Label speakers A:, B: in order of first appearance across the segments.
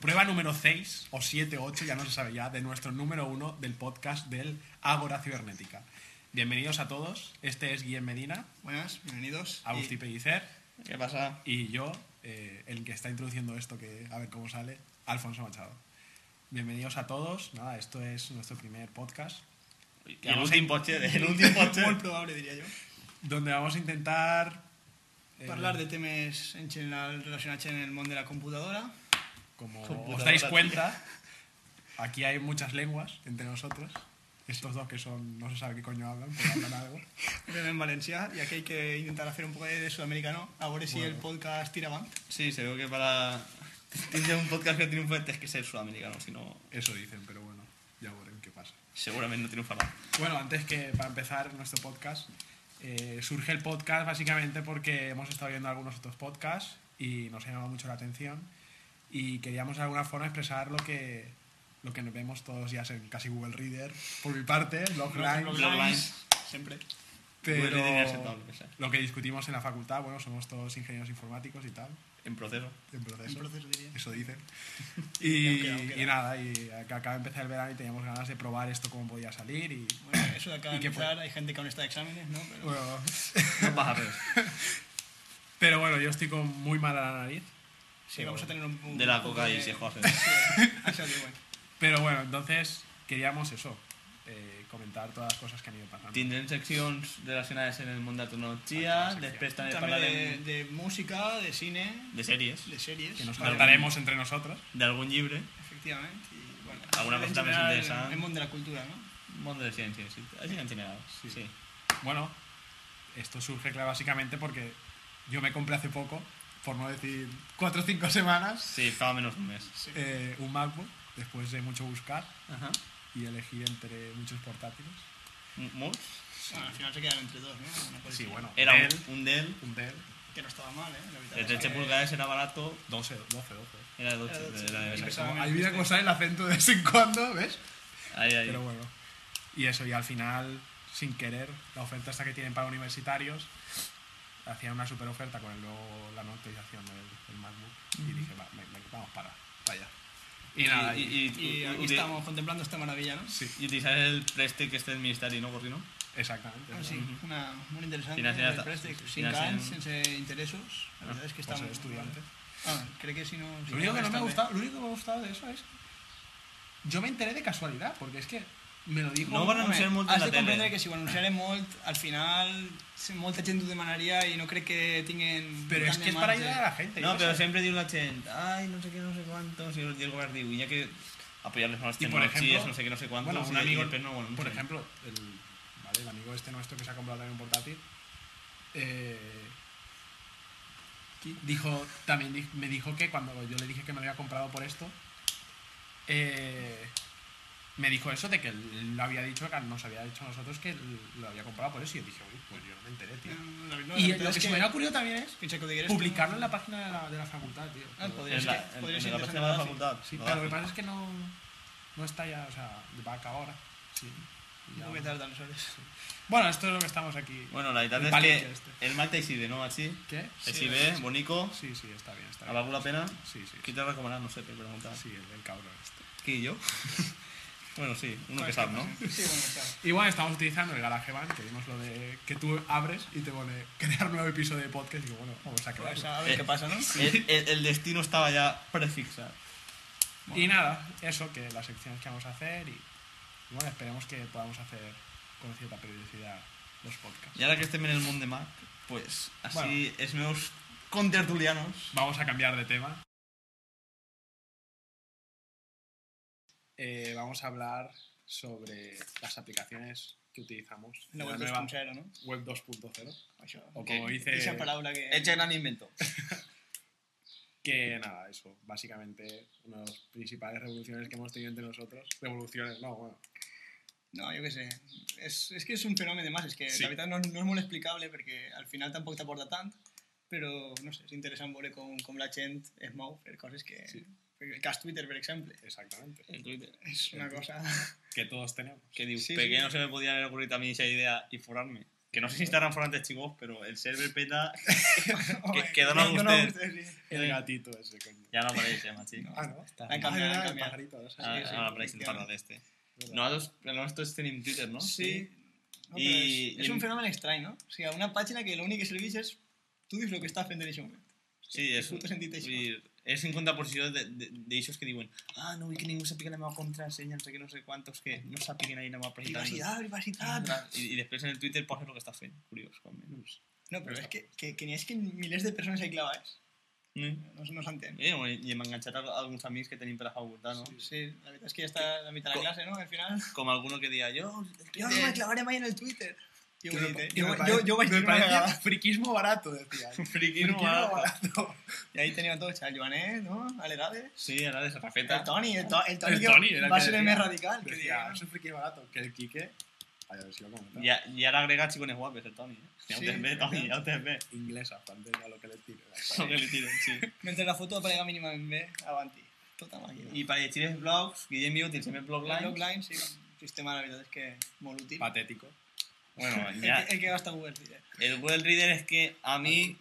A: Prueba número 6 o 7 o 8, ya no se sabe ya, de nuestro número 1 del podcast del Ágora Cibernética. Bienvenidos a todos. Este es Guillem Medina,
B: Buenas, bienvenidos.
A: Agustí
B: Y-
A: Pellicer
B: ¿Qué pasa?
A: y yo, eh, el que está introduciendo esto, que a ver cómo sale, Alfonso Machado. Bienvenidos a todos. Nada, esto es nuestro primer podcast
C: Y el últim potser, el últim
B: Muy
C: potser.
B: probable, diría yo.
A: donde vamos a intentar eh,
B: Hablar de temas en general relacionados en el mundo de la computadora.
A: Como
C: Computadora,
A: os dais
C: tío.
A: cuenta, aquí hay muchas lenguas entre nosotros. Estos dos que son, no se sabe qué coño hablan, pero hablan algo.
B: Obviamente en Valencia, y aquí hay que intentar hacer un poco de, de sudamericano. Ahora sí
A: Bueno.
B: el podcast tira avant.
C: Sí, seguro que para... Tindre un podcast que triunfa es que ser sudamericano, si no,
A: Eso dicen, pero bueno, ya veremos qué pasa.
C: seguramente no triunfará.
A: Bueno, antes que para empezar nuestro podcast, eh, surge el podcast básicamente porque hemos estado viendo algunos otros podcasts y nos ha llamado mucho la atención y queríamos de alguna forma expresar lo que lo que nos vemos todos días en casi Google Reader, por mi parte, Loglines,
C: Loglines.
B: Siempre.
A: pero
C: Google Reader es aceptable, o sea.
A: lo que discutimos en la facultad, bueno, somos todos ingenieros informáticos y tal,
C: En proceso.
A: en proceso,
B: En proceso, diría.
A: eso dicen. Y,
B: aunque- aunque
A: y
B: no.
A: nada, y ac- acaba de empezar el verano y teníamos ganas de probar esto cómo podía salir y
B: Bueno, eso de acá de
A: ¿Y qué fue?
B: empezar, hay gente que aún está de exámenes, ¿no? Pero
A: bueno,
C: No pasa res.
A: Pero bueno, yo estoy con muy mala la nariz.
B: sí, vamos a tener un un
C: De la
B: poco
C: coca
B: de-
C: y se joden.
B: Sí, ha salido bueno.
A: Pero bueno, entonces queríamos eso, eh, comentar todas las cosas que han ido pasando.
C: Tindrem seccions relacionades en el món de la tecnologia,
A: Ah, sí,
C: després també
B: También de,
C: parlarem
B: de música, de cine,
C: de sèries,
B: de series.
A: que nos
B: Vale.
A: trataremos entre nosotros.
C: d'algun llibre,
B: Efectivamente. Y, bueno,
C: Alguna
B: en
C: cosa también
B: general,
C: interesante.
B: El mundo de la cultura, ¿no?
C: món de ciències, sí. així en general.
A: Sí.
C: Sí. sí.
A: Bueno, esto surge claro, básicamente porque yo me compré hace poco, por no decir cuatro o cinco semanas,
C: Sí, fa menys un mes.
B: Sí.
A: eh, un MacBook, después de mucho buscar
C: Uh -huh.
A: y elegir entre muchos portátiles.
C: Molts?
B: Bueno, al final se quedaron entre dos, ¿no? Una cosa
A: Sí,
B: así.
A: bueno.
C: Era
A: Dell,
C: un, un Dell.
A: un Dell,
B: Que no estaba mal, ¿eh? La mitad
C: El
B: de
C: 13
B: la-
C: pulgades era barato,
A: 12, 12, 12.
B: Era
C: era de
B: de
C: 12. Era de
B: Y
C: 12.
B: pesaba
A: Ahí
B: menos
A: mira
B: que
A: cómo
B: este.
A: sale el acento de vez en cuando, ¿ves?
C: Ahí, ahí.
A: Pero bueno. Y eso, y al final, sin querer, la oferta esta que tienen para universitarios, hacían una super oferta con el nuevo, la nueva actualización del, del MacBook. Y dije, va, me- me- vamos para, para allá. Y nada, y,
B: Y aquí
C: uti-
B: estamos contemplando esta maravilla, ¿no?
A: sí,
C: y utilizar el preste que esté en Ministeri, no, Corrino?
A: exactamente.
B: Ah,
A: ¿no?
B: sí, una muy interesante.
C: Financiera-
B: el préstamo, sin
C: financiera-
B: CAN, sin intereses. La verdad es que
A: Por
B: estamos.
A: ser estudiante.
B: Ah, creo que si no. si
A: Lo único que no me ha
B: está
A: gustado, lo único que me ha gustado de eso es. Yo me enteré de casualidad, porque es que me lo dijo.
C: No van a anunciar molt
B: bé. Has
C: en
B: de
C: la tele.
B: comprendre ah, que si ho anunciarem molt, al final se- molta gent ho demanaria i no crec que tinguin...
A: Pero
B: tant
A: es
B: de
A: que es para
B: marge.
A: ayudar a la gente. yo
C: No,
A: qué
C: pero
A: sé.
C: siempre digo la gente, ay, no sé qué, no sé cuántos, y el gobierno digo, ya que apoyar las nuevas
A: Y por
C: tecnologías,
A: ejemplo,
C: no sé qué, no sé cuántos,
A: Bueno, un
C: y- y
A: amigo,
C: después no, bueno, no
A: por
C: sé.
A: ejemplo, el, vale, el amigo este nuestro que se ha comprado también un portátil, eh, dijo, también di- me dijo que cuando yo le dije que me lo había comprado por esto, eh, me dijo eso de que él lo había dicho, que nos había dicho a nosotros que él lo había comprado por eso. Y yo dije, uy, pues yo no me enteré, tío.
B: No, Mm, la verdad-
A: y
B: la
A: lo
B: verdad
A: que
B: es
A: se me había ocurrido también es
B: Fins que ho digueres tu.
A: publicarlo en la página de la, de la facultad, tío.
B: Ah,
A: Pero-
B: podría
C: En
B: ser
C: la,
B: que-
C: en-
B: podría
C: en
B: ser
C: la página de la
B: interesante,
C: facultad.
A: Sí,
C: lo
A: pero lo que
C: hacen.
A: pasa es que no, no está ya, o sea, vaca ahora. Sí.
B: Un poquet tard, aleshores.
A: Bueno, esto es lo que estamos aquí.
C: Bueno, la verdad
A: El
C: es
A: paliche
C: que
A: este.
C: el Mac te exhibe, ¿no, Machi?
A: ¿Qué?
B: Sí,
C: Exhibe,
B: sí.
C: bonito,
A: Sí, sí, está bien, está
C: ¿ha
A: bien.
C: valido la pena?
A: Sí, sí.
C: ¿Qué te recomiendas? No sé, te preguntan.
A: Sí, el, el cabrón este.
C: ¿Qué y yo? bueno, sí, uno que
B: Pues,
C: sabe, ¿no?
B: Sí, bueno, está.
A: Y bueno, estamos utilizando el GarageBand, que vimos lo de que tú abres y te pone crear nuevo episodio de podcast. Y digo, bueno, vamos a
B: Pues
A: crearlo.
B: a ver
C: Eh,
B: qué pasa, ¿no?
C: El, el- el destino estaba ya prefixado.
A: Y nada, eso, que las secciones que vamos a hacer y, y bueno, esperemos que podamos hacer con cierta periodicidad los podcasts.
C: Y ahora que estén en el mundo de Mac, pues así
A: Bueno.
C: es menos contertulianos.
A: Vamos a cambiar de tema. Eh, vamos a hablar sobre las aplicaciones que utilizamos.
B: La
A: de
B: web
A: nueva
B: 2.0, ¿no?
A: web 2.0.
B: Això.
A: O como dice-
B: Esa palabra que...
C: Hecha gran invento.
A: Que nada, eso, básicamente una de las principales revoluciones que hemos tenido entre nosotros. Revoluciones, no, bueno.
B: No, jo què sé. És, és que és un fenomen de masses, que
A: Sí.
B: sí. la veritat no, no és molt explicable perquè al final tampoc t'aporta tant, però no sé, és interessant veure com, com la gent es mou per coses que...
A: Sí.
B: Sí. El cas Twitter, per exemple,
A: Exactamente.
C: En Twitter.
B: és una cosa...
A: Que todos tenemos.
C: Que digo,
B: Sí,
C: pequeño
B: sí.
C: no se me podía haber ocurrido a mí esa idea y forarme. Que no sé si Instagram fue antes chivos, pero el server peta.
B: Joder,
C: que donan
B: donan
C: ustedes.
B: ustedes, sí.
A: El gatito ese, coño.
C: Ya no aparece, se llama así.
B: No.
A: Eh. Ah, ¿no?
B: Han
A: Ah,
B: cambiado,
A: era
B: han
A: el
B: cambiado.
A: pajarito, ¿no?
C: Ah,
B: Sí, sí,
C: ahora aparece el
B: efectivamente.
C: parlón este. Nosotros, nosotros tenemos Twitter, ¿no?
B: Sí. No, però
C: I-
B: és, és
C: i-
B: un fenomen estrany, no? O sigui, una pàgina que l'únic que serveix és tu dius el que està fent en aquest moment.
C: Sí, és,
B: Puto sentit això.
C: vull dir, és en contraposició de- de- d'aixos que diuen ah, no vull que ningú sàpiga la meva contrasenya, no sé què, no sé quantos, que no sàpiguen ahir la ah, meva presentació.
B: Privacitat, privacitat.
C: I, I després en el Twitter poses el que estàs fent, curiós, com menys.
B: No, però és que, que, que n'hi ha és que milers de persones hi clavats.
C: Mm.
B: No, no s'entén.
C: Eh, bueno, I hem enganxat a alguns amics que tenim per la facultat, no?
B: Sí. sí, la veritat és que ja està la mitad de
C: Com-
B: la classe, no? Al final...
C: Com alguno que dia, jo, el
B: Jo
C: Twitter...
B: no me clavaré mai en el Twitter. Jo ho he dit, eh?
A: Que
B: Jo,
A: me
B: jo, jo vaig
A: parece-
B: dir
A: me
B: una vegada.
A: parece friquismo barato, decía.
C: Friquismo
A: Friquismo
C: barato.
A: barato.
B: I ahí tenia tots, el Joanet, no? A l'Herades.
C: Sí, ara de
B: El
C: Sarrafeta.
B: Toni, el, to, el Toni,
A: El
B: que
A: Toni era el
B: va
A: que
B: ser el
A: decía.
B: més radical. Que
A: Decía,
B: deia,
A: es un friquismo barato. Que el Quique... Ay, a ver si lo comento.
C: I, a- I ara agrega xicones guapes, el Toni. Eh? Ja ho
B: Sí,
C: tens bé, Toni, ja ho tens bé.
A: Inglesa, francés, a lo que le tire.
C: El que li tiren, sí.
B: mentre la foto aparega mínimament bé, avanti. Tota màquina.
C: I per llegir els blogs, Guillem i jo utilitzem el blog
B: Lines.
C: line.
B: sí, un sistema, la veritat és que molt útil.
A: Patético.
C: Bueno,
B: El,
C: ja,
B: que, el que gasta Google Reader.
C: El Google Reader es que a mí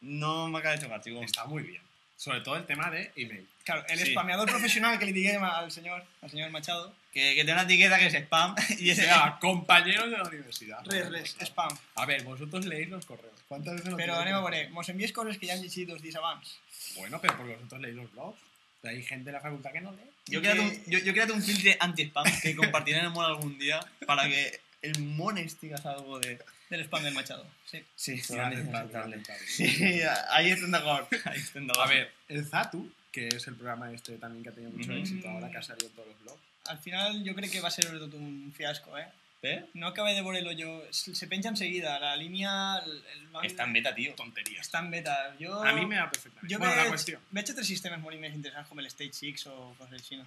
C: no me acaba de chocar, chicos.
A: Está muy bien. Sobre todo el tema de email.
B: Claro, el
C: Sí.
B: spameador profesional que le diguem al señor, al señor Machado.
C: Que, que tiene una etiqueta que es spam y
A: O
C: es...
A: sea, compañeros de la universidad.
B: Res, res, spam.
A: A ver, vosotros leéis los correos. ¿Cuántas veces lo
B: Però
A: tenéis
B: anem
A: que
B: a veure,
A: hacer?
B: mos envies coses que ja han llegit dos dies abans.
A: Bueno, pero porque vosotros leéis los blogs. Pero hay gente de la facultad que no lee.
C: Yo he creado un, yo, yo he creado un filtro anti-spam que compartiré en el mono algún día para que el mones digas algo de...
B: Del spam del Machado. Sí.
C: Sí,
A: Pero hace falta, hace falta.
C: Sí, ahí estén de acuerdo. Ahí estén de
A: A
C: acuerdo.
A: ver, el Zatu, que es el programa este también que ha tenido mucho
C: Ujú.
A: éxito ahora, que ha salido en todos los blogs.
B: Al final jo crec que va ser tot un fiasco, eh?
C: ¿Eh?
B: No acabé de veure-lo jo. Se se penja enseguida, la línia... El, el banc-
C: Está en beta, tío. Tonterías.
B: Està en beta.
C: Oh,
B: Jo...
A: A mí me da perfectamente.
B: Jo
A: Bueno, la
B: veig,
A: cuestión.
B: veig altres sistemes molt més interessants com el Stage 6 o coses així, no?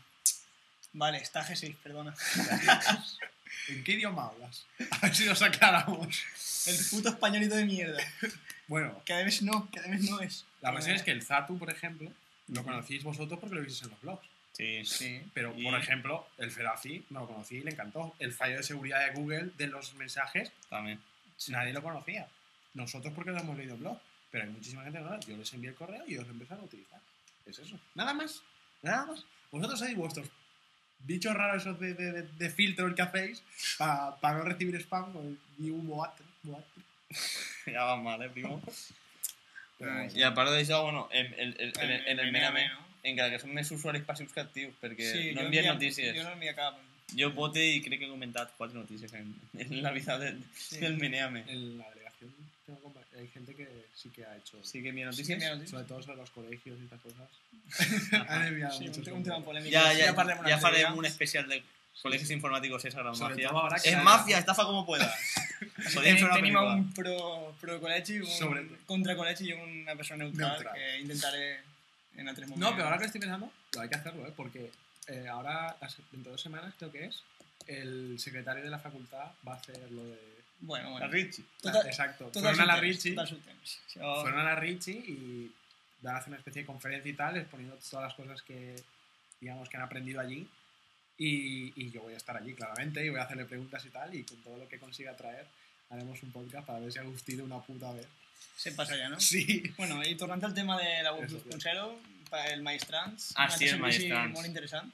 B: Vale, està G6, perdona.
A: ¿En qué idioma hablas? A ver si nos aclaramos.
B: El puto españolito de mierda.
A: Bueno,
B: Cada vez no, cada vez no es.
A: la cuestión es que el Zatu, por ejemplo, lo conocéis vosotros porque lo visteis en los blogs.
C: Sí.
B: Sí.
A: Pero,
C: Y-
A: por ejemplo, el Ferazi no lo conocí y le encantó. El fallo de seguridad de Google de los mensajes,
C: También.
A: nadie lo conocía. Nosotros porque lo hemos leído en blog. Pero hay muchísima gente que no. Yo les envié el correo y ellos lo empezaron a utilizar. Es eso. Nada más. Nada más. Vosotros sois vuestros bichos raros esos de, de, de- de filtro que hacéis para no recibir spam con ni un boat. boat.
C: Ya va mal, eh, primo.
A: Pero,
B: Ay,
C: Y aparte de eso, bueno, en, en, en, en, en el Mename,
B: no?
C: encara que són més usuaris passius que actius, perquè sí, no
B: jo
C: envien
B: envia-
C: notícies.
B: Jo no envia cap.
C: Jo vote i crec que he comentat quatre notícies en, en la vida del,
B: Sí.
C: del Meneame.
A: En la delegación tengo compa- hay gente que sí que ha hecho,
C: Sí que mi
B: Sí,
C: notícies.
B: envia notícies.
A: sobre todo sobre los colegios y estas cosas. Han Ah, enviado
B: Sí,
A: muchos
B: un, un tema
A: correos.
B: polèmic.
C: ja, ja,
B: parlem
C: ja,
B: un
C: ja
B: altre
C: farem
B: dia.
C: un especial de col·legis informàtics és ara
A: Sobre
C: mafia.
A: todo ahora que
C: És
A: haya-
C: mafia, estafa como puedas. Podríem
B: Tenim,
C: fer una
B: tenim a
C: pel·lícula.
B: un pro, pro col·legi, un
A: Sobre-
B: contra col·legi i una persona neutral,
A: Neutral.
B: que intentaré en altres moments.
A: No, pero ahora que estoy pensando, lo hay que hacerlo, ¿eh? porque eh, ahora, las- dentro de dos semanas creo que es, el secretario de la facultad va a hacer lo de...
B: Bueno, bueno.
C: La Richie.
B: Total-
A: Exacto.
B: Tot
A: Fueron a la
B: temps,
A: Richie.
B: Tot el seu temps. Això...
A: Fueron a la Richie y van a hacer una especie de conferencia y tal, exponiendo todas las cosas que, digamos, que han aprendido allí. Y, y yo voy a estar allí, claramente, y voy a hacerle preguntas y tal, y con todo lo que consiga traer, haremos un podcast para ver si ha gustado una puta vez.
B: Se passa ja, no?
A: Sí.
B: Bueno, i tornant al tema de la Web
A: Eso,
B: 2.0, per el Maestrans,
C: Ah, sí, el Maestrans.
B: molt interessant.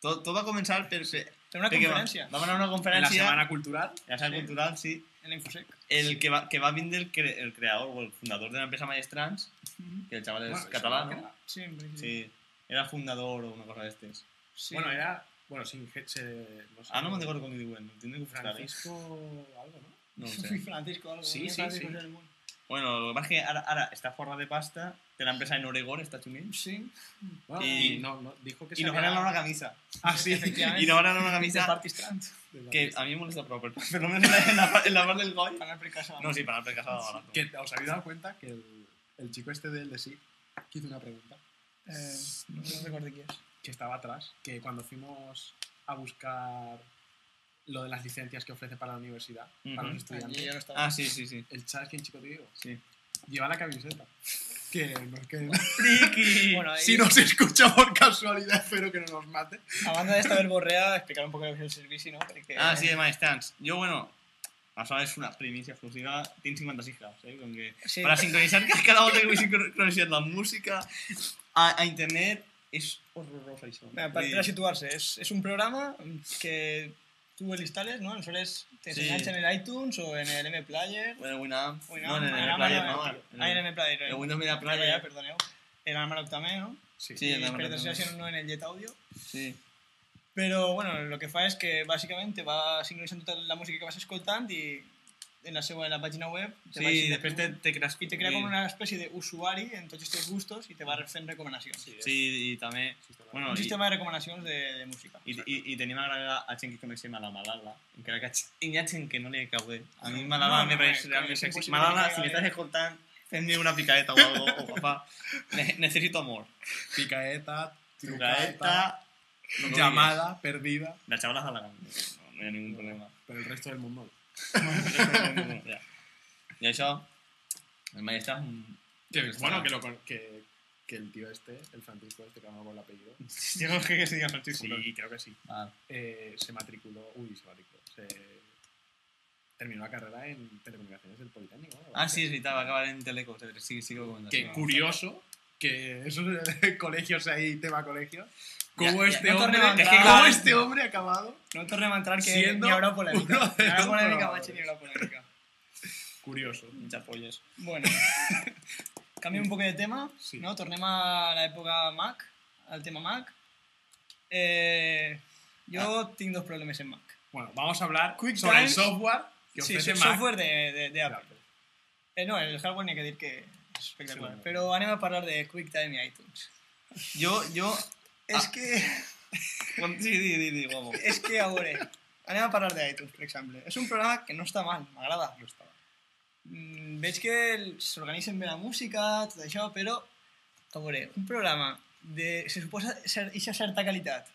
C: Tot, tot va començar per... per
B: Fem una
C: perquè va-
B: conferència
C: Vam anar a una
A: En la
C: conferència,
A: Semana Cultural.
C: la sala
B: Sí.
C: cultural, sí.
B: en l'Infosec.
C: El que va, que va vindre el, cre, el creador o el fundador de l'empresa Maestrans,
B: Mhm.
C: que el xaval és
A: Bueno,
C: català,
A: eso-
C: no?
B: Sí, em pareix que sí.
C: Sí. Era fundador o una cosa d'estes.
B: sí.
A: Bueno, era. Bueno, sin je- se- sé.
C: Ah, no me'n recordo com li diuen. Ho tinc de buscar, eh?
A: Francisco. Algo, ¿no?
C: No ho sé.
B: Fui Francisco, algo.
A: Sí,
B: muy
A: sí,
B: Francisco
A: sí.
B: del mundo.
C: Bueno, lo que pasa es que ahora, ahora está forrada de pasta, de la empresa en Oregón, Estados Unidos,
B: Sí,
A: Bueno,
C: Y-
A: y no, no, dijo que
C: y nos
A: había-
C: regalaron una camisa.
A: Ah, sí,
B: efectivamente.
C: Y nos regalaron una
B: de
C: camisa
B: Party Strands.
C: que a mí me molesta, però per, per lo menos en la, en la, part- en la part del goi.
B: Para per casa.
C: No, sí, para la precasada barato.
A: Que os habéis dado cuenta que el, el chico este del de sí que hizo una pregunta
B: Eh, no recuerdo quién es.
A: que estaba atrás, que cuando fuimos a buscar lo de las licencias que ofrece para la universidad, para
C: Ujú.
A: los estudiantes,
B: Allí ya no estaba.
C: Ah, sí, sí, sí.
A: el chat que chico te digo,
C: sí.
A: lleva la camiseta. Que no es que
C: ¡Friki!
B: Bueno, ahí,
A: si nos escucha por casualidad, espero que no nos mate.
B: a banda de esta del Borrea, explicar un poco lo que eh. es el servicio, ¿no? Porque,
C: Ah, sí, de Maestrans. Yo, bueno, Aleshores, una primícia exclusiva. Tinc 56 graus, eh? Com que
B: Sí.
C: Per a sincronitzar cada volta que vull sincronitzar la música a, a internet és horrorós això.
B: Mira,
C: Vull
B: para
C: dir-
B: situarse, es, es un programa que tú lo instales, ¿no? Entonces te
C: Sí.
B: enganchan en el iTunes o en el M Player.
C: Bueno, Winamp.
B: Winamp,
C: No, no, en el
B: Winamp,
C: Player,
B: Winamp,
C: no.
B: Ah, en
C: el-
B: el M Player.
C: El Windows Media
B: Player, ya,
C: Player.
B: perdoneo. En Amarok también, ¿no?
A: Sí.
C: Sí, en
B: y
C: Amarok
B: espero que
C: también.
B: sea no en el Jet Audio.
C: Sí.
B: Però, bueno, el que fa és que bàsicament te va sincronitzant tota la música que vas escoltant i en la seva en la pàgina web te
C: Sí,
B: va
C: i després te, te crees...
B: i te crea com una espècie d'usuari en tots els teus gustos i te va fent recomanacions. Sí.
C: Sí, i també... Bueno,
B: Un
C: i,
B: sistema de recomanacions de, de música.
C: i, i, i tenim a agradar a gent que coneixem a la Malala, encara que a gent- hi ha gent que no li cau bé. A mi Malala
B: No, no,
C: me pareix
B: no,
C: realment
B: és
C: sexy.
B: impossible
C: Malala,
B: que li
C: si
B: caiga
C: m'estàs
B: bé.
C: escoltant, fem-me una picaeta o algo, o papá. Ne necesito amor.
A: Picaeta, trucaeta,
C: Picaeta, lo que vulguis.
A: llamada, perdida.
C: La chavala es halagante. No, no hi ha ningún problema.
A: Pero el resto del mundo.
C: ja. I això, el Maestà és un...
A: Que,
C: Pues
A: bueno,
C: nada.
A: que, lo con- que, que el tío este, el Francisco este, que no me acuerdo el apellido.
C: Yo no sé que se diga Francisco.
A: Sí, creo que sí.
C: Ah,
A: eh, se matriculó, uy, se matriculó, se terminó la carrera en telecomunicaciones del Politécnico. ¿no?
C: ah, sí, sí, estaba acabar en Teleco. Ah, Sí, sigo con
A: Que curioso que esos eh, colegios ahí, tema colegio, cómo
C: Ya, ya,
A: este,
B: no
A: hombre,
B: torneban,
A: es que
B: claro.
A: cómo este hombre ha acabado.
B: No tornem a entrar que
A: Siendo
B: ni haurà polèmica.
A: uno de
B: Ni haurà
A: los
B: polèmica,
A: programadores.
B: Bachi, ni haurà polèmica.
A: Curioso.
C: Muchas pollas.
B: Bueno, canviem un poc de tema,
A: Sí.
B: no? Tornem a l'època Mac, al tema Mac. Eh, jo
A: Ah.
B: tinc dos problemes en Mac.
A: Bueno, vamos a hablar
B: Quick
A: sobre el
B: Times.
A: software que
B: Sí,
A: ofrece
B: so-
A: Mac.
B: software de, de, de Apple.
A: Claro.
B: Eh, no, el hardware ni que dir que és espectacular.
A: Sí, bueno.
B: Però anem a parlar de QuickTime i iTunes.
C: Yo, yo...
A: ah.
B: És que,
C: Bueno, Sí, di, di, di, guapo.
B: és que a veure, anem a parlar d'iTunes, per exemple. És un programa que no està mal, m'agrada.
A: No estaba.
B: Mm, veig que el- s'organitzen bé la música, tot això, però, a veure, un programa de, se suposa, ser, ixa certa qualitat,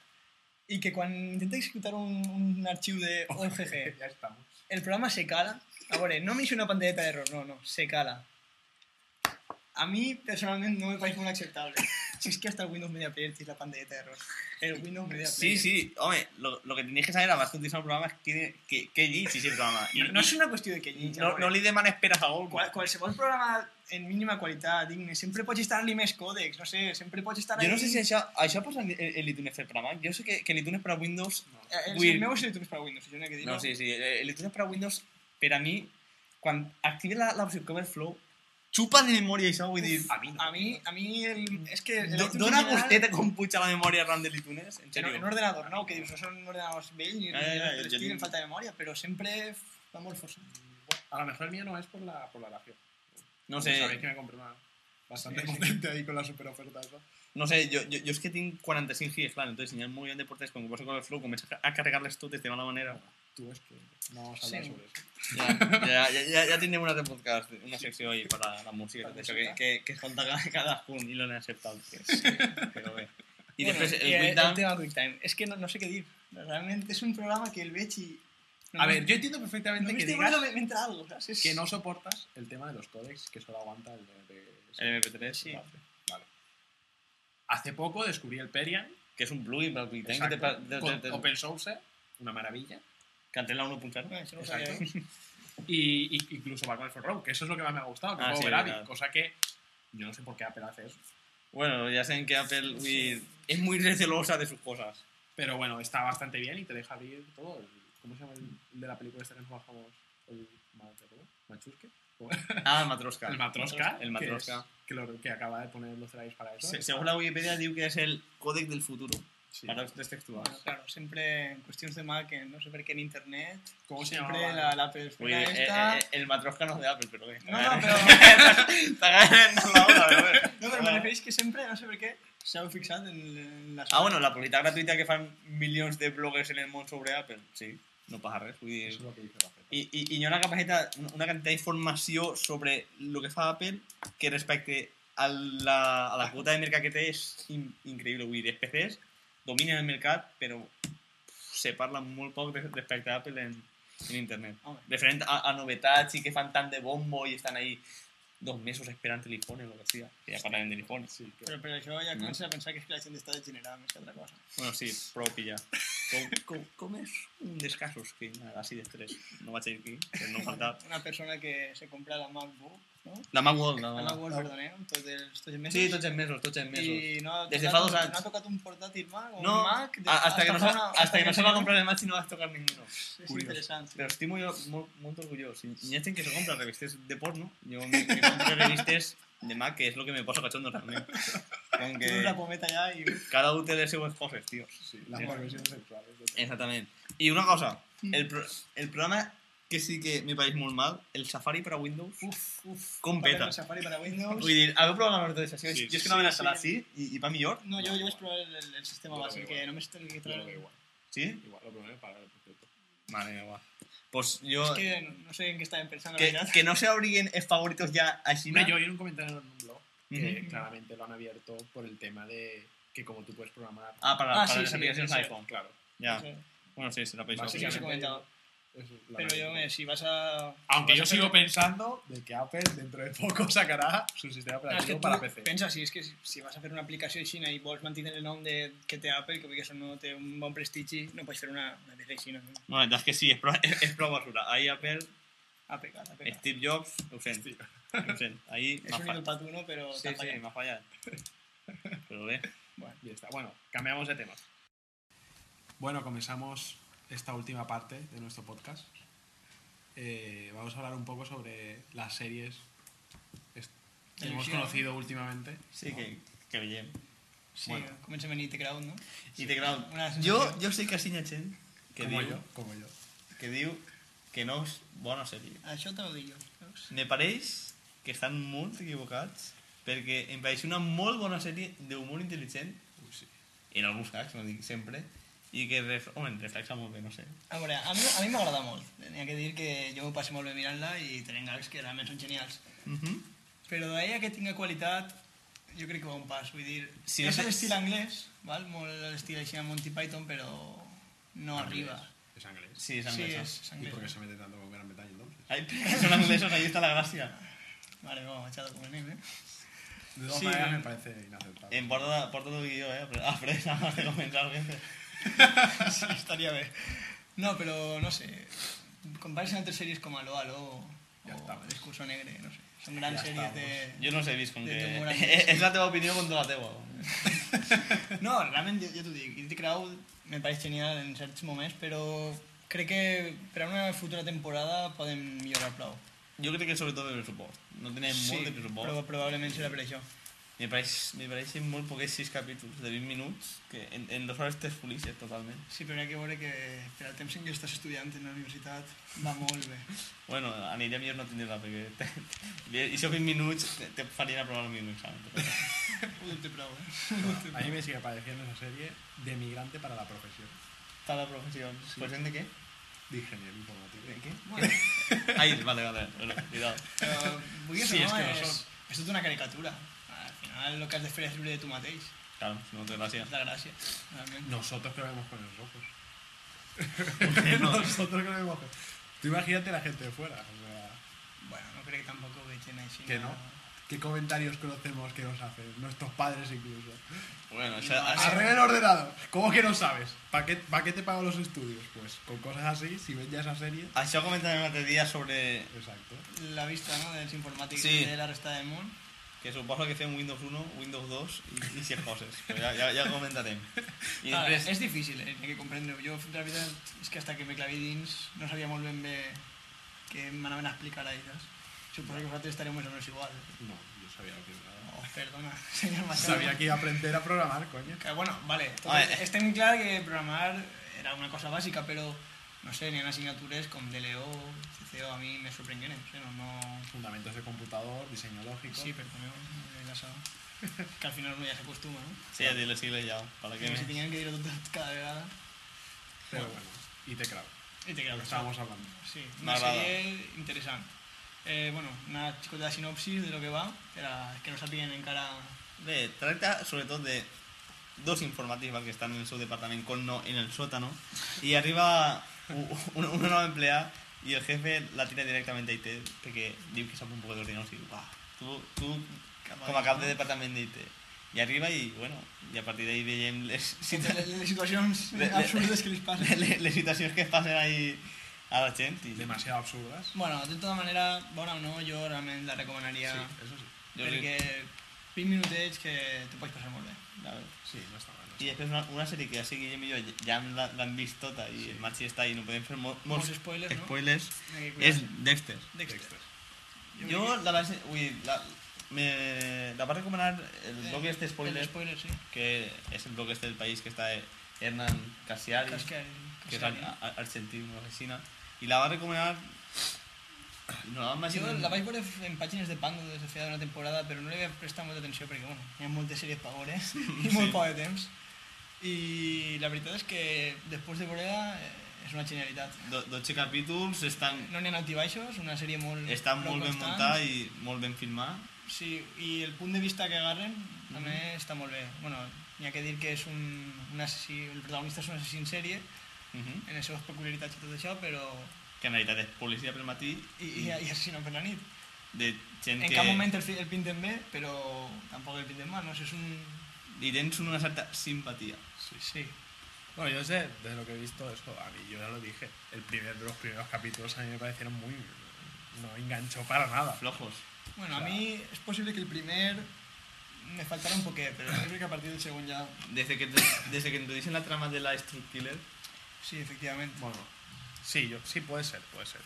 B: i que quan intenta executar un, un arxiu de OGG,
A: ya estamos.
B: el programa se cala. A veure, no m'hice una pantalleta d'error, no, no, se cala. A mi, personalment, no me pareix molt acceptable. Si és que hasta el Windows Media Player tiene la pantalleta d'error. El Windows Media Player.
C: Sí, sí, hombre, lo, lo que tenéis que saber además de utilizar un programa es qué que, que llits el programa. I,
B: No, no és una qüestió de que
C: i,
B: llinja.
C: no, no li demanes esperas a algú.
B: Qual, qualsevol programa en mínima qualitat, digne, sempre pots instal·lar-li més còdecs, no sé, sempre pots estar
C: Jo no sé si això, això passa en, en l'iTunes per programa. Jo sé que, que l'iTunes per a Windows
B: El,
C: Vull-
B: el meu és YouTube per a Windows, jo n'he que dir.
C: No, sí, sí. eh, El iTunes para Windows, per a mi, quan activi la, la opció Coverflow, xupa de memòria això, vull dir...
A: A mí no.
B: A mi, a mi el, és que... el
C: Do,
B: iTunes
C: dona
B: en general-
C: gusteta com puja la memòria RAM de l'iTunes, en
B: En,
C: serio. Ah,
B: en ordenador, no? Que dius, no són ordenadors vells ni
C: Ja, ja, ja,
B: ordenadors
C: jo
B: estil, en
C: tinc-
B: falta de memòria, però sempre va molt forçat.
A: A lo mejor el mío no es por la, por la oración.
C: No
A: Sabéis que
C: sé,
A: me compré una bastante
B: Sí, sí.
A: potente ahí con la super oferta esa.
C: no sé, jo, jo, jo és que tinc 45 gigas, clar, entonces si hi ha un moviment de portes, com que poso Coverflow, comença a carregar-les totes de mala manera.
A: Tú es que no vamos a hablar
B: Sí.
A: sobre eso.
C: Ja, ja, ja, ja, ja tindrem un altre podcast, una secció ahí per a la música, i tot això, que, que, que escolta cada, cada punt i l'on accepta el que és. Però bé. I després, el
B: eh, el
C: Windows...
B: tema QuickTime. És que no, no sé què dir. Realment és un programa que el veig i...
A: A ver, yo entiendo perfectamente que
B: només
A: digas
B: digas... me entra algo, saps? És...
A: que no soportas el tema de los códecs que solo aguanta el MP3.
C: El MP3, sí.
A: Vale. Hace poco descubrí el Perian,
C: que es un plugin para Quick Time que te, pa-
A: exacto,
C: te, te,
A: con
C: te,
A: open source, una maravilla.
C: que antes la 1.0.
B: Eh, això no ho sabia,
A: Exacte.
B: eh?
A: Y, y- incluso Batman for Rogue, que eso es lo que más me ha gustado, que
C: Ah,
A: juego
C: sí,
A: Gravity,
C: verdad.
A: cosa que yo no sé por qué Apple hace eso.
C: Bueno, ya saben que Apple uy, es muy recelosa de sus cosas.
A: Pero bueno, está bastante bien y te deja abrir todo. el- ¿Cómo se llama el, el de la película esta que nos bajamos? El Ma- ¿cómo? Machusque.
C: Ah, Matroska.
A: El Matroska.
C: El Matroska.
A: Que, es- que lo- que acaba de poner los trailers para eso.
C: Se- según la Wikipedia, digo que es el códec del futuro
A: Sí.
C: para los textuales.
B: Bueno, claro, sempre en qüestions de mà que no sé per què en internet,
A: ¿Cómo se llama?
B: sempre la, la
C: Uy,
B: persona
C: eh,
B: esta...
C: eh, eh, el Matroska no es de Apple, pero bien.
B: No, no, però,
C: Está ganando la hora, pero bueno.
B: no, però me refereix que sempre, no sé per què, s'heu fixat en, en la...
C: Ah, bueno, la publicidad gratuita que fan millones de bloggers en el mundo sobre Apple. Sí, no pasa res. Vull
A: Eso
C: dir,
A: es lo que dice la gente.
C: I, i, i hi ha una capacitat, una quantitat d'informació sobre el que fa Apple que respecte a la, a la quota de mercat que té és in, increïble. Vull dir, els PCs dominen el mercat, però se parla molt poc de, respecte a Apple en, en internet.
B: Home.
C: Referent a, a novetats i que fan tant de bombo i estan ahí dos mesos esperant el iPhone o el que sigui, que ja parlarem de l'iPhone.
A: Sí, que-
B: Però per això ja
C: No.
B: comença a pensar que és que la gent està degenerada més que altra cosa.
C: Bueno, sí, prou pillar. Com, com, com és un dels casos que hi ha així després, no vaig dir qui, però no em falta.
B: Una persona que se compra la MacBook, no?
C: La Macworld,
B: La
C: la
B: MacBook, ¿eh? Pues perdoneu, tots els, tots els mesos.
C: Ah. Sí, tots els mesos, tots els mesos.
B: I no ha
C: Des de
B: tocat
C: fa dos
B: un-
C: anys.
B: No ha tocat un portátil Mac o
C: No,
B: un Mac.
C: a- Ah, hasta, que no,
B: fa
C: se-
B: una-
C: hasta que no se va a
B: fa-
C: comprar el Mac y no vas a tocar ninguno.
B: Es
C: Curioso.
B: interesante.
C: Pero estoy muy, muy, muy orgulloso. Y hacen que se compra revistas de porno. Yo me me compro revistas de Mac, que es lo que me pasa cachondo también. Con
B: Tienes la
C: que
B: pometa ya y...
C: cada uno tiene sus cosas, tío.
A: Sí, las
C: Sí.
A: perversiones sexuales. de todo.
C: Exactamente. Y una cosa, el, pro- el programa que sí que me parece muy mal, el Safari para Windows.
B: Uf, uf.
C: Com
B: para
C: peta.
B: el Safari para Windows.
C: Vull dir, habeu provat la virtualització?
D: Sí,
C: jo és que no
B: sí,
C: me l'instal·lat,
B: sí.
C: sí, i, i va millor,
B: No, yo, yo voy a probar el, el- el sistema
D: Yo lo
B: base,
D: veo
B: que
D: igual.
B: no me estoy que
D: Yo lo
B: traer...
D: veo igual.
C: sí?
D: Igual, lo primero es pagar el proyecto.
C: Mare meva. Pues jo...
B: Es que no, no sé en qué está empezando
C: Que,
B: la verdad.
C: que no se abriguen eh, favoritos ya a China.
A: Hombre, yo oí un comentario en un blog que
B: Ujú.
A: claramente lo han abierto por el tema de que como tú puedes programar...
C: Ah, para,
B: Ah,
C: para
B: sí,
C: las
B: sí,
C: aplicaciones
B: sí, sí.
C: iPhone.
A: Claro.
C: Ya.
B: Eso-
C: Bueno, sí, será pensado.
B: Sí, que os he
A: Básicamente-
B: comentado.
A: eso es la
B: Pero yo,
A: verdad.
B: eh, si vas a...
D: Ah,
A: Aunque
B: vas
A: yo
B: a
A: sigo
B: hacer-
A: pensando de que Apple dentro de poco sacará su sistema
B: Ah, és que
A: operativo
B: tu
A: para PC.
B: Pensa, si és que si, si vas a fer una aplicació xina i vols mantenir el nom de, que té Apple, que vull que això no té un bon prestigi, no pots fer una, una PC xina. No?
C: No, la verdad es que sí, es pro, es, es pro basura. Ahí Apple,
B: Ha pecat, ha pecat.
C: Steve Jobs, ausente. ausente. Ahí
B: És
C: más
B: un ídol
C: fallado.
B: patuno, però
C: Sí,
B: t'ha fallat.
C: sí, más fallado. Pero ve.
A: Ya está. Bueno, cambiamos de tema. Bueno, comenzamos esta última parte de nuestro podcast. Eh, vamos a hablar un poco sobre las series est- que hemos
B: Televisión.
A: conocido últimamente.
C: Sí, que, que bien.
B: Sí,
A: Bueno.
B: comencem en IT Crowd, no?
C: Y te grabo.
B: Una
C: Yo,
B: sensación.
C: yo sé que Asiña Chen, que
A: como
C: digo,
A: yo, como yo.
C: que digo, que no es bona sèrie.
B: Això Ah, te ho dic jo. veus?
C: Me pareix que estan molt equivocats perquè em pareix una molt bona sèrie d'humor intel·ligent
A: Uy, sí.
C: en alguns casos, no dic sempre i que ref... home, reflexa molt bé, no sé
B: A veure, a mi, a mi m'agrada molt. Tenia que dir que jo m'ho passo molt bé mirant-la i tenen gags que realment són genials.
C: uh -huh.
B: Però d'ahir que tinga qualitat, jo crec que va un pas. Vull dir,
C: Sí,
B: sí, és
C: és-
B: l'estil anglès, val? molt l'estil així a Monty Python, pero no arriba.
A: Es inglés.
C: Sí, és
B: Sí,
C: anglesa
B: és,
C: sí,
B: és
A: ¿Y por qué
B: anglès.
A: se mete tanto con Gran Bretaña entonces?
C: Ai, perquè són anglesos, ahí està la gràcia
B: Vale, no, machado com anem, eh?
A: De todas
C: Sí.
A: maneras me parece inaceptable.
C: em porta, porta el guió, eh? Però- Après, abans de començar gente.
B: Sí, estaria bé. No, però no sé, compares amb altres sèries com Aló, Aló,
A: Ja
B: o
A: estamos.
B: Discurso Negre, no sé. Són grans
A: Ja
B: sèries de...
C: jo no sé, he vist com
B: De
C: que
B: humor anglès.
C: és la teva opinió contra la teva
B: No, realment, jo, jo t'ho dic, Guilty Crowd me pareix genial en certs moments, però crec que per a una futura temporada podem millorar prou.
C: jo crec que sobretot el pressupost no tenen molt de pressupost
B: però probablement serà per això.
C: Me, pareix, me pareixen molt poquets 6 capítols de 20 minuts que en, en dues hores t'es felices totalment.
B: Sí, però hi ha que veure que per al temps en què estàs estudiant en la universitat va molt bé.
C: Bueno, aniria millor no tindre-la perquè te, te, i si ho 20 minuts te, te farien aprovar el meu examen.
B: Ho dubte prou, eh?
A: Bueno, a mí me sigue pareciendo esa serie de migrante para la profesión
C: Està la professió. Sí. Pues de què?
A: de ingeniero informático.
C: De què?
B: Bueno,
C: Ai, vale, vale. Bueno, cuidado.
B: però vull dir
A: Sí,
B: que
A: és
B: no,
A: que
B: és,
A: no
B: és,
A: són.
B: és tota una caricatura. Al final el que has de fer és riure de tu mateix.
C: Claro, no té gràcia.
B: És la gràcia, realment.
A: Nosotros que lo vemos con los ojos.
C: No.
A: Nosotros que lo vemos con... Tú imagínate la gente de fuera. O sea,
B: Bueno, no crec que tampoc ho vegin així.
A: Que no. ¿Qué comentarios conocemos que nos hacen? Nuestros padres incluso.
C: Bueno, això... això-
A: Arregla el ordenador. ¿Cómo que no sabes? ¿Para qué, pa' qué te pago los estudios? Pues con cosas así, si ven ya esa serie.
C: Això comentàvem l'altre dia sobre
A: Exacto.
B: La vista, no?, dels informàtics
C: Sí.
B: sí. de la resta del món.
C: que suposa que fem Windows 1, Windows 2 i, i 100 coses. Però ja, ja, ja ho comentarem. I
B: Ara,
C: després...
B: Ah, és difícil, eh? Hay que comprendre-ho. Jo, la veritat, és que hasta que me claví dins no sabia molt ben bé què m'anaven a explicar a elles. Suposo que vosaltres estareu més o menys igual.
A: No, yo sabía lo que era.
B: Oh, perdona, senyor Machado.
A: Sabía que iba a aprender a programar, coño.
B: Que, bueno, vale, tot,
C: A ver.
B: estem clar que programar era una cosa bàsica, però no sé, n'hi ha assignatures com DLO, CCO, a mi me sorprengueren, no, sé, no, no...
A: Fundamentos de computador, diseño lógico.
B: Sí, perdoneu, eh, la sao. Que al final uno ya se acostuma, no?
C: Sí, a dir les sigles ja. Per
B: Que si
C: què?
B: tinguem que dir-ho tot cada vegada...
A: Pero bueno, y te creo.
B: I te
A: Lo
B: quedes
A: que estábamos hablando.
B: Sí, una
C: M'agrada.
B: sèrie interessant. Eh, bueno, una xicota sinopsis de lo que va, per a que no sàpiguen encara...
C: Bé, tracta sobretot de dos informàtics que estan en el seu departament, con no, en el sótano, i arriba u- una, una nova empleada i el jefe la tira directament d'IT perquè diu que sap un poc d'ordinadors i diu, "Buah, tu, tu com a cap de departament d'IT i arriba i, bueno, i a partir d'ahí veiem les,
B: Entre
C: situa-
B: les, les situacions
C: Le- le-
B: absurdes que les passen.
C: les, les situacions que es passen ahí a la gent. I,
A: Demasiado absurdas.
B: Bueno, de tota manera, bona o no, jo realment la recomanaria
A: Sí, eso sí.
C: Jo
B: perquè 20 minutets que t'ho pots passar molt bé.
C: a veure.
A: Sí, no está mal. no
C: I
A: está
C: després una, una sèrie que ja sé Guillem i jo ja hem- la- l'han vist tota i
A: Sí.
C: el Maxi està ahí, no podem fer mol,
B: Molts
C: molts
B: spoilers, no?
C: spoilers.
B: Hay que
C: És
B: cuidarse.
C: Dexter.
A: mal.
B: Dexter.
C: Jo la vaig... Ui, la, me, la va recomanar el blog este
B: El
C: spoiler,
B: spoiler, sí.
C: que és el blog este del país que està eh, Hernán Casiari,
B: Cascar,
C: que és ar- ar- argentí, una asesina, i la va recomanar... i No, la vam
B: Jo
C: imaginar-
B: la vaig veure en pàgines de Pando des de feia una temporada, però no li vaig prestar molta atenció perquè, bueno, hi ha moltes sèries per veure i molt poc de temps. I la veritat és que després de veure-la eh, és una genialitat.
C: Do, 12 capítols, estan,
B: No n'hi ha altibaixos, una sèrie molt...
C: estan molt ben
B: constant.
C: muntat i molt ben filmat.
B: Sí, i el punt de vista que agarren també està molt bé. Bueno, n'hi ha que dir que és un, un assassí, el protagonista és un assassí en sèrie,
C: Mhm.
B: en les seves peculiaritats i tot això, però...
C: Que en realitat és policia pel matí
B: I, i,
A: Mm.
B: i assassina per la nit.
C: de
B: En
C: gent que...
B: cap moment el, fi- el pinten bé, però tampoc el pinten mal, no sé, és un...
C: Li tens una certa simpatia.
B: Sí.
A: Bueno, yo sé, desde lo que he visto, eso, a mí, yo ya lo dije, el primer de los primeros capítulos a mí me parecieron muy... No enganchó para nada.
C: Flojos.
B: Bueno, a
A: Clar.
B: mi és possible que el primer me faltara un poquet, però jo crec que a partir del segon ja...
C: Desde que, te- desde que introducen la trama de la Struct Killer,
B: Sí, efectivament.
A: Bueno, sí, yo, sí puede ser, puede ser.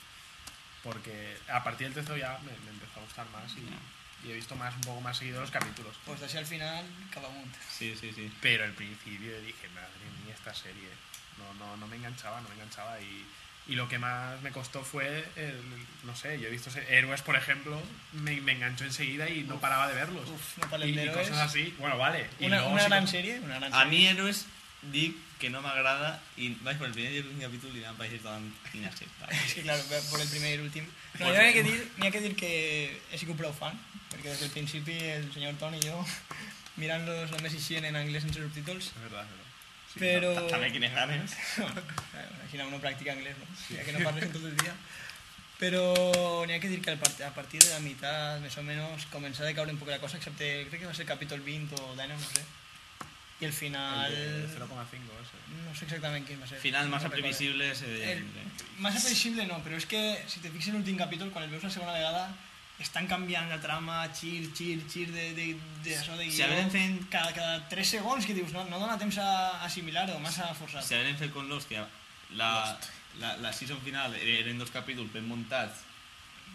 A: Porque a partir del tercero ya me, me empezó a gustar más y, y he visto más un poco más seguido los capítulos.
B: Pues d'així al final, cap amunt.
C: sí, sí, sí.
A: Pero al principio dije, madre mía, esta serie. No, no, no me enganchaba, no me enganchaba. Y, y lo que más me costó fue, el- no sé, yo he visto se- héroes, por ejemplo, me, me enganchó enseguida y no paraba de verlos.
B: Uf, no
A: y,
B: parlem
A: y
B: d'héroes.
A: cosas así. Bueno, vale. Y
B: Una,
A: luego sí
B: una
A: que-
B: gran sèrie, una gran
C: A
B: sèrie.
C: mi Héroes dic que no m'agrada i vaig per el primer i el primer capítol i em vaig estar inacceptable.
B: És que, claro, ve por el primer i l'últim. No,
C: Pues
B: jo n'hi ha,
C: bé.
B: que dir, n'hi ha que dir que he sigut prou fan, perquè des del principi el senyor Toni i jo mirant-los només així en anglès sense subtítols,
A: Es verdad, es verdad. Sí,
B: però...
C: Ta- També quines ganes.
B: Imagina, uno practica anglès, no? Ja que no parles tot el dia. Però n'hi ha que dir que al part- a partir de la meitat, més o menys, començava a caure un poc la cosa, excepte, crec que va ser el capítol 20 o 19, no sé. I el
A: claro.
B: final...
A: El de 0,5 ese.
B: No sé exactament quin va ser.
C: Final massa
B: No recordo.
C: previsible se deia.
B: El,
C: sempre.
B: massa previsible no, però és que si te fixes en l'últim capítol, quan el veus la segona vegada, estan canviant la trama, xir, xir, xir, de, de, de això de
C: Si hagueren fet-
B: cada, cada 3 segons que dius, no, no dona temps a assimilar-ho, massa forçat.
C: Si haguem fet con Lost, que la, la, la season final eren dos capítols ben muntats,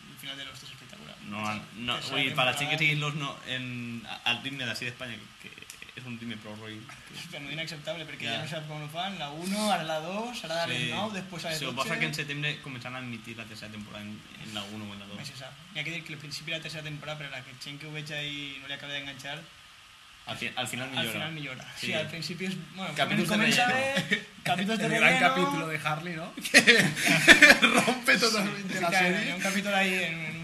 B: El final de l'host és espectacular.
C: no, han- no,
B: Tercera
C: vull dir, per la gent que
B: temporada.
C: sigui Lost no, en, al ritme d'ací d'Espanya, que, que és un ritme prou roïn.
B: És bueno, inacceptable, perquè
C: Ja.
B: ja. no sap com ho fan, la 1, ara la 2, ara la
C: Sí.
B: 9, després a les
C: Se
B: 12...
C: ho passa que en setembre començaran a admitir la tercera temporada en, en la 1 o en la 2.
B: Més se sap. N'hi ha que dir que al principi de la tercera temporada, per a la que gent que ho veig i no li acaba d'enganxar,
C: Al, fi, al final
B: Al
C: millora.
B: final millora. Sí,
C: Sí.
B: al principio es. Bueno,
C: Capítulos de
B: comienza
C: relleno.
B: de- Capítulos de
A: El
B: relleno.
A: gran capítulo de Harley, ¿no? Que rompe totalmente
B: Sí,
A: la
B: claro,
A: serie.
B: Un capítulo ahí en. un-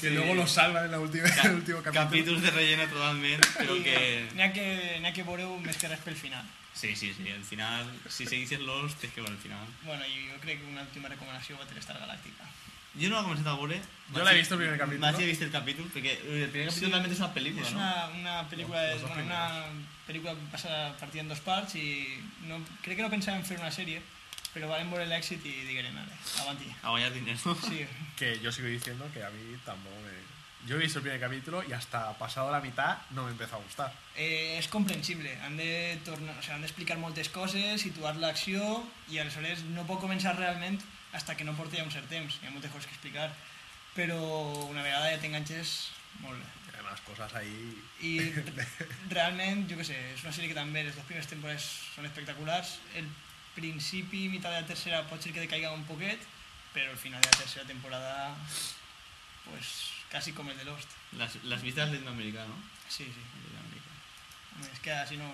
A: Que luego lo salvan en, la última, en el último capítulo.
C: Capítols de relleno totalment, però
B: Y
C: que...
B: n'hi ha que, n'hi ha que veure-ho més que res pel final.
C: Sí, sí, sí, al final, si seguís Lost, és que veure el final.
B: Bueno, i jo crec que una última recomanació Battlestar Galàctica.
C: Jo no l'he començat a veure.
A: Jo l'he vist el primer capítol.
C: Vaig he vist el capítol, perquè el primer capítol
B: Sí.
C: realment és una pel·lícula,
B: És
C: no?
B: una, una pel·lícula,
A: Los- los dos
B: bueno, una pel·lícula passada partida en dos parts i no, crec que no pensàvem fer una sèrie, però vam veure l'èxit i digueren, vale, avanti.
C: A guanyar diners, no?
B: Sí,
A: Que yo sigo diciendo que a mí tampoco me... Yo he visto el primer capítulo y hasta pasado la mitad no me empezó a gustar.
B: Eh, és comprensible, han de tornar, o sigui, han d'explicar moltes coses, situar l'acció i aleshores no pot començar realment fins que no porti ja un cert temps, hi ha moltes coses que explicar, però una vegada ja t'enganxes, molt bé.
A: Y Además, cosas ahí...
B: I realment, jo què sé, és una sèrie que també les dues primeres temporades són espectaculars, el principi i meitat de la tercera pot ser que decaiga un poquet, però el final de la tercera temporada, pues, quasi com el de Lost.
C: Las, las vistas latinoamericanas, ¿no?
B: Sí, sí.
C: Latinoamérica.
B: Home, és que així no...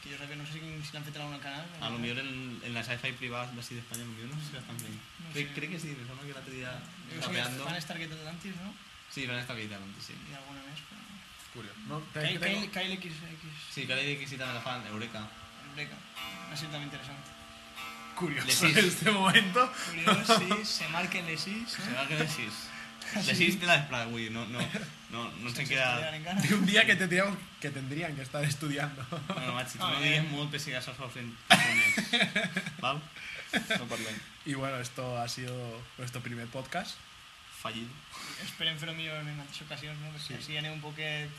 B: Que jo sàpiga, no sé si, si l'han fet en algun canal.
C: A lo mejor en, en la sci-fi privada de así de España, a lo mejor no sé si la están viendo.
B: No
C: Cre-
B: sé.
C: creo que sí, me suena que la tenía
B: Jo sé que
C: rapeando.
B: fan Stargate Atlantis, no?
C: Sí, van a estar antes, sí.
B: I alguna més, però...
A: Curioso. No, te-
B: Kyle,
A: que tengo-
B: Kyle, Kyle XX...
C: Sí, que le que sí también la fan, Eureka.
B: ¿Ah? Eureka. Una sèrie també interessant.
A: Curioso
C: Decís.
A: en este momento.
B: Curiós, sí, se marquen les 6,
C: Se va a quedar 6. Llegís de la esplada, avui, no, no, no, no ens en queda...
A: Té un dia que tendríem que, tendríem que estar estudiando.
C: No, no, Maxi, tu
B: Ah,
C: no
B: eh.
C: digues molt perquè sigues els persones. Val? No parlem.
A: Y bueno, esto ha sido nuestro primer podcast.
C: Fallit.
B: Esperem fer-ho millor en altres ocasions, no? Sí.
A: Sí.
B: Així anem un poquet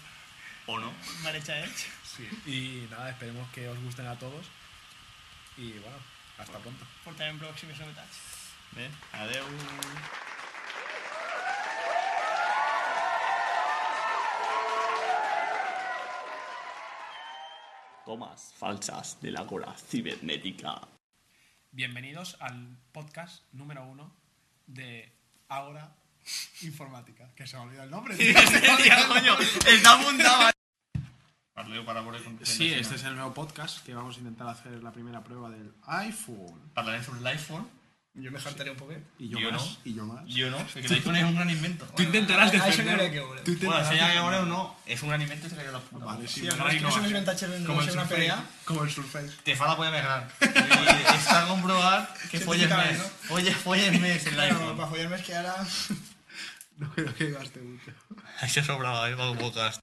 C: O no.
B: mal hechaets.
A: Sí. Y nada, esperemos que os gusten a todos. Y bueno, hasta pronto.
B: Portarem pròximes novetats.
C: Bé, adeu.
D: Tomas falsas de la gola cibernética.
A: Bienvenidos al podcast número uno de Ahora Informática. Que se me ha olvidado el nombre. tío.
C: Hostia, coño, está apuntado. Parleo para voler con-
A: Sí, este es el nuevo podcast que vamos a intentar hacer la primera prueba del iPhone.
C: Parlaré sobre el iPhone.
B: Jo me hartaré un poquet.
A: Y yo,
C: Yo
A: más.
C: no.
A: Y yo más.
C: Yo no, perquè el iPhone es un gran invento.
A: Tú intentarás
B: Bueno,
A: defender.
B: això no era que
A: tú
B: voleu.
C: Bueno,
A: intentarás
C: si ya que
A: defender-
C: ahora o no, es un gran invento y se cayó la puta.
A: Vale, sí,
B: Sí,
A: bueno,
B: no,
A: ahí
B: és que
A: no
B: són
A: va.
B: els avantatges de
A: Como
B: no
A: el
B: ser una
A: Surface.
B: pelea.
A: Como el Surface.
C: Te fa la polla més gran. I està comprovat que folles
B: Científicament,
C: més.
B: no?
C: Folles, folles més en
B: Claro,
C: l'iPhone.
B: para follar més que ara...
A: No creo que gaste mucho.
C: Això sobrava, eh, pel podcast.